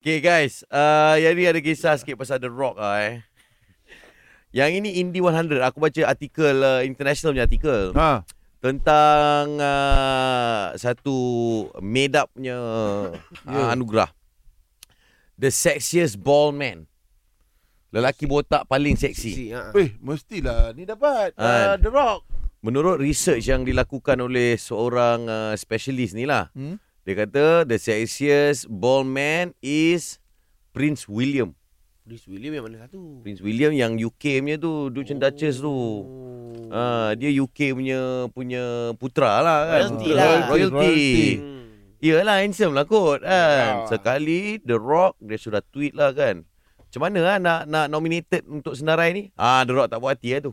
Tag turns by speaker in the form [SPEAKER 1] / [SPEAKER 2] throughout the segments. [SPEAKER 1] Okay guys, uh, yang ni ada kisah sikit pasal The Rock lah eh. Yang ini Indie 100, aku baca artikel, uh, international punya artikel.
[SPEAKER 2] Ha.
[SPEAKER 1] Tentang uh, satu made up punya uh, anugerah. The sexiest bald man. Lelaki botak paling seksi.
[SPEAKER 3] ha.
[SPEAKER 2] Eh, mestilah ni dapat.
[SPEAKER 1] Ah.
[SPEAKER 2] Uh, The Rock.
[SPEAKER 1] Menurut research yang dilakukan oleh seorang uh, specialist ni lah.
[SPEAKER 2] Hmm?
[SPEAKER 1] Dia kata the sexiest bald man is Prince William.
[SPEAKER 3] Prince William yang mana satu?
[SPEAKER 1] Prince William yang UK punya tu, Duke and Duchess tu.
[SPEAKER 2] Oh.
[SPEAKER 3] Oh.
[SPEAKER 1] Ah, dia UK punya punya putra lah kan.
[SPEAKER 3] Royalty lah.
[SPEAKER 1] Royalty.
[SPEAKER 2] Royalty. Ya.
[SPEAKER 3] Hmm.
[SPEAKER 1] Yelah handsome lah kot kan.
[SPEAKER 3] Ah.
[SPEAKER 1] Sekali The Rock dia sudah tweet lah kan. Macam mana lah nak nak nominated untuk senarai ni? Ah The Rock tak puas hati lah tu.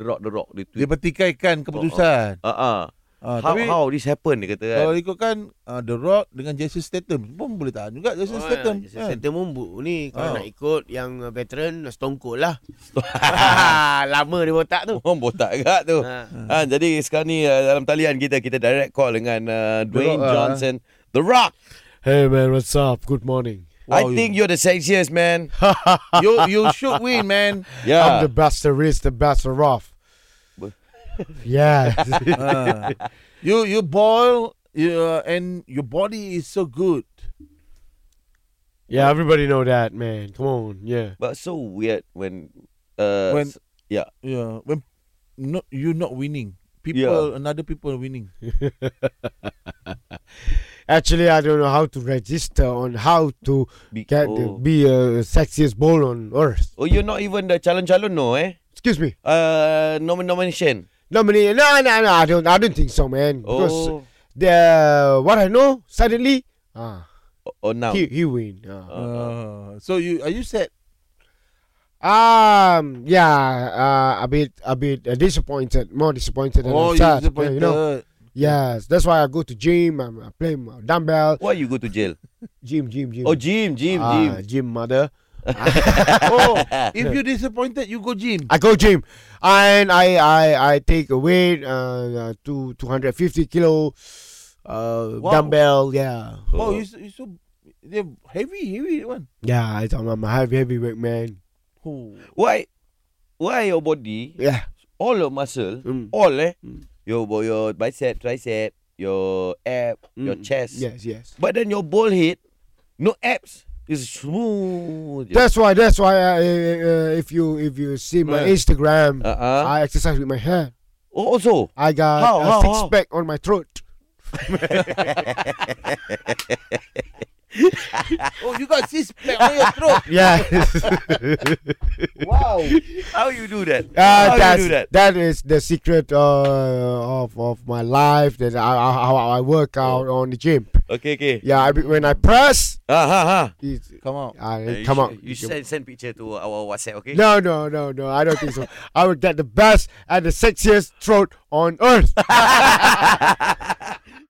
[SPEAKER 1] The Rock The Rock dia
[SPEAKER 2] Dia
[SPEAKER 1] tweet.
[SPEAKER 2] pertikaikan keputusan.
[SPEAKER 1] Ah ah.
[SPEAKER 2] Ah,
[SPEAKER 1] How
[SPEAKER 2] tapi
[SPEAKER 1] how this happen dia kata kan.
[SPEAKER 2] kalau ikutkan uh, The Rock dengan Jason Statham pun boleh tahan juga Jason
[SPEAKER 3] Oh,
[SPEAKER 2] Statham.
[SPEAKER 3] Jason
[SPEAKER 2] kan?
[SPEAKER 3] Statham pun bu-
[SPEAKER 1] Oh.
[SPEAKER 2] Ah.
[SPEAKER 3] ni kalau nak ikut yang uh, veteran Stone Cold lah. Ah, Lama dia botak tu.
[SPEAKER 1] Orang botak kat tu.
[SPEAKER 3] Ha.
[SPEAKER 2] Ah.
[SPEAKER 1] Ha, jadi sekarang ni uh, dalam talian kita kita direct call dengan uh, Dwayne
[SPEAKER 2] Rock, ah.
[SPEAKER 1] Johnson, The Rock.
[SPEAKER 4] Hey man, what's up? Good morning.
[SPEAKER 1] I
[SPEAKER 2] Wow, you-
[SPEAKER 1] think you're the sexiest man.
[SPEAKER 2] you you should win man.
[SPEAKER 4] I'm
[SPEAKER 1] Yeah.
[SPEAKER 4] the best there is, the best there off.
[SPEAKER 1] Bu-
[SPEAKER 4] yeah.
[SPEAKER 2] Ah. you you ball you, uh, and your body is so good.
[SPEAKER 4] yeah, everybody know that, man. Come on, yeah.
[SPEAKER 1] But so weird when uh
[SPEAKER 2] When-
[SPEAKER 1] s- yeah.
[SPEAKER 2] Yeah, when not you not winning, people
[SPEAKER 1] Yeah.
[SPEAKER 2] another people are winning.
[SPEAKER 4] Actually, I don't know how to register on how to
[SPEAKER 1] Be-
[SPEAKER 4] get
[SPEAKER 1] oh.
[SPEAKER 4] be a sexiest ball on earth.
[SPEAKER 1] oh, you're not even the calon-calon no eh?
[SPEAKER 4] Excuse me.
[SPEAKER 1] Uh nom- nomination.
[SPEAKER 4] No, many- no, no, no. I don't. I don't think so, man. Because
[SPEAKER 1] Oh,
[SPEAKER 4] the what I know suddenly, ah,
[SPEAKER 1] oh now.
[SPEAKER 4] he he win. ah.
[SPEAKER 2] Uh, so you are you sad?
[SPEAKER 4] Um, yeah, uh, a bit, a bit uh, disappointed, more disappointed than
[SPEAKER 2] oh, you
[SPEAKER 4] I'm sad,
[SPEAKER 2] disappointed.
[SPEAKER 4] You know, yes, that's why I go to gym. I'm I play my dumbbell,
[SPEAKER 1] Why you go to jail?
[SPEAKER 4] gym, gym, gym.
[SPEAKER 1] Oh, gym, gym, gym.
[SPEAKER 4] Ah, gym, mother.
[SPEAKER 2] oh, if you disappointed, you go gym.
[SPEAKER 4] I go gym, and I, I, I take a weight, uh, uh, two, two hundred fifty kilo, uh,
[SPEAKER 2] Wow.
[SPEAKER 4] dumbbell. Yeah,
[SPEAKER 2] Oh, you so, you so they're heavy, heavy that one.
[SPEAKER 4] yeah. I, I'm a heavy, heavyweight man.
[SPEAKER 2] Oh,
[SPEAKER 1] Why why your body
[SPEAKER 4] Yeah,
[SPEAKER 1] all your muscle
[SPEAKER 3] Hmm,
[SPEAKER 4] Mm.
[SPEAKER 1] all eh
[SPEAKER 4] Mm.
[SPEAKER 1] your bo- your bicep, tricep, your ab,
[SPEAKER 3] hmm.
[SPEAKER 4] Hmm.
[SPEAKER 1] your chest.
[SPEAKER 4] yes, yes.
[SPEAKER 1] But then your bald head, no abs. It's smooth.
[SPEAKER 4] That's why, that's why. I, uh, if you, if you see my
[SPEAKER 2] Right.
[SPEAKER 4] Instagram,
[SPEAKER 1] Uh-huh.
[SPEAKER 4] I exercise with my hand.
[SPEAKER 1] Oh, also.
[SPEAKER 4] I got
[SPEAKER 1] How,
[SPEAKER 4] a
[SPEAKER 1] how,
[SPEAKER 4] six
[SPEAKER 1] how?
[SPEAKER 4] pack on my throat.
[SPEAKER 2] oh, you got six pack on your throat.
[SPEAKER 4] Yeah,
[SPEAKER 2] Wow.
[SPEAKER 1] How you do that?
[SPEAKER 4] uh,
[SPEAKER 1] How
[SPEAKER 4] that's,
[SPEAKER 1] you do that?
[SPEAKER 4] that is the secret uh, of of my life. That I, I- how I work out on the gym.
[SPEAKER 1] Okay, okay.
[SPEAKER 4] Yeah, I, be- when I press,
[SPEAKER 1] Ah, ha, ha.
[SPEAKER 4] it's,
[SPEAKER 2] Come out.
[SPEAKER 4] I
[SPEAKER 1] Uh, you
[SPEAKER 4] come
[SPEAKER 1] sh-
[SPEAKER 4] out.
[SPEAKER 1] You send, send picture to our WhatsApp, okay?
[SPEAKER 4] No, no, no, no. I don't think so. I would get the best and the sexiest throat on earth.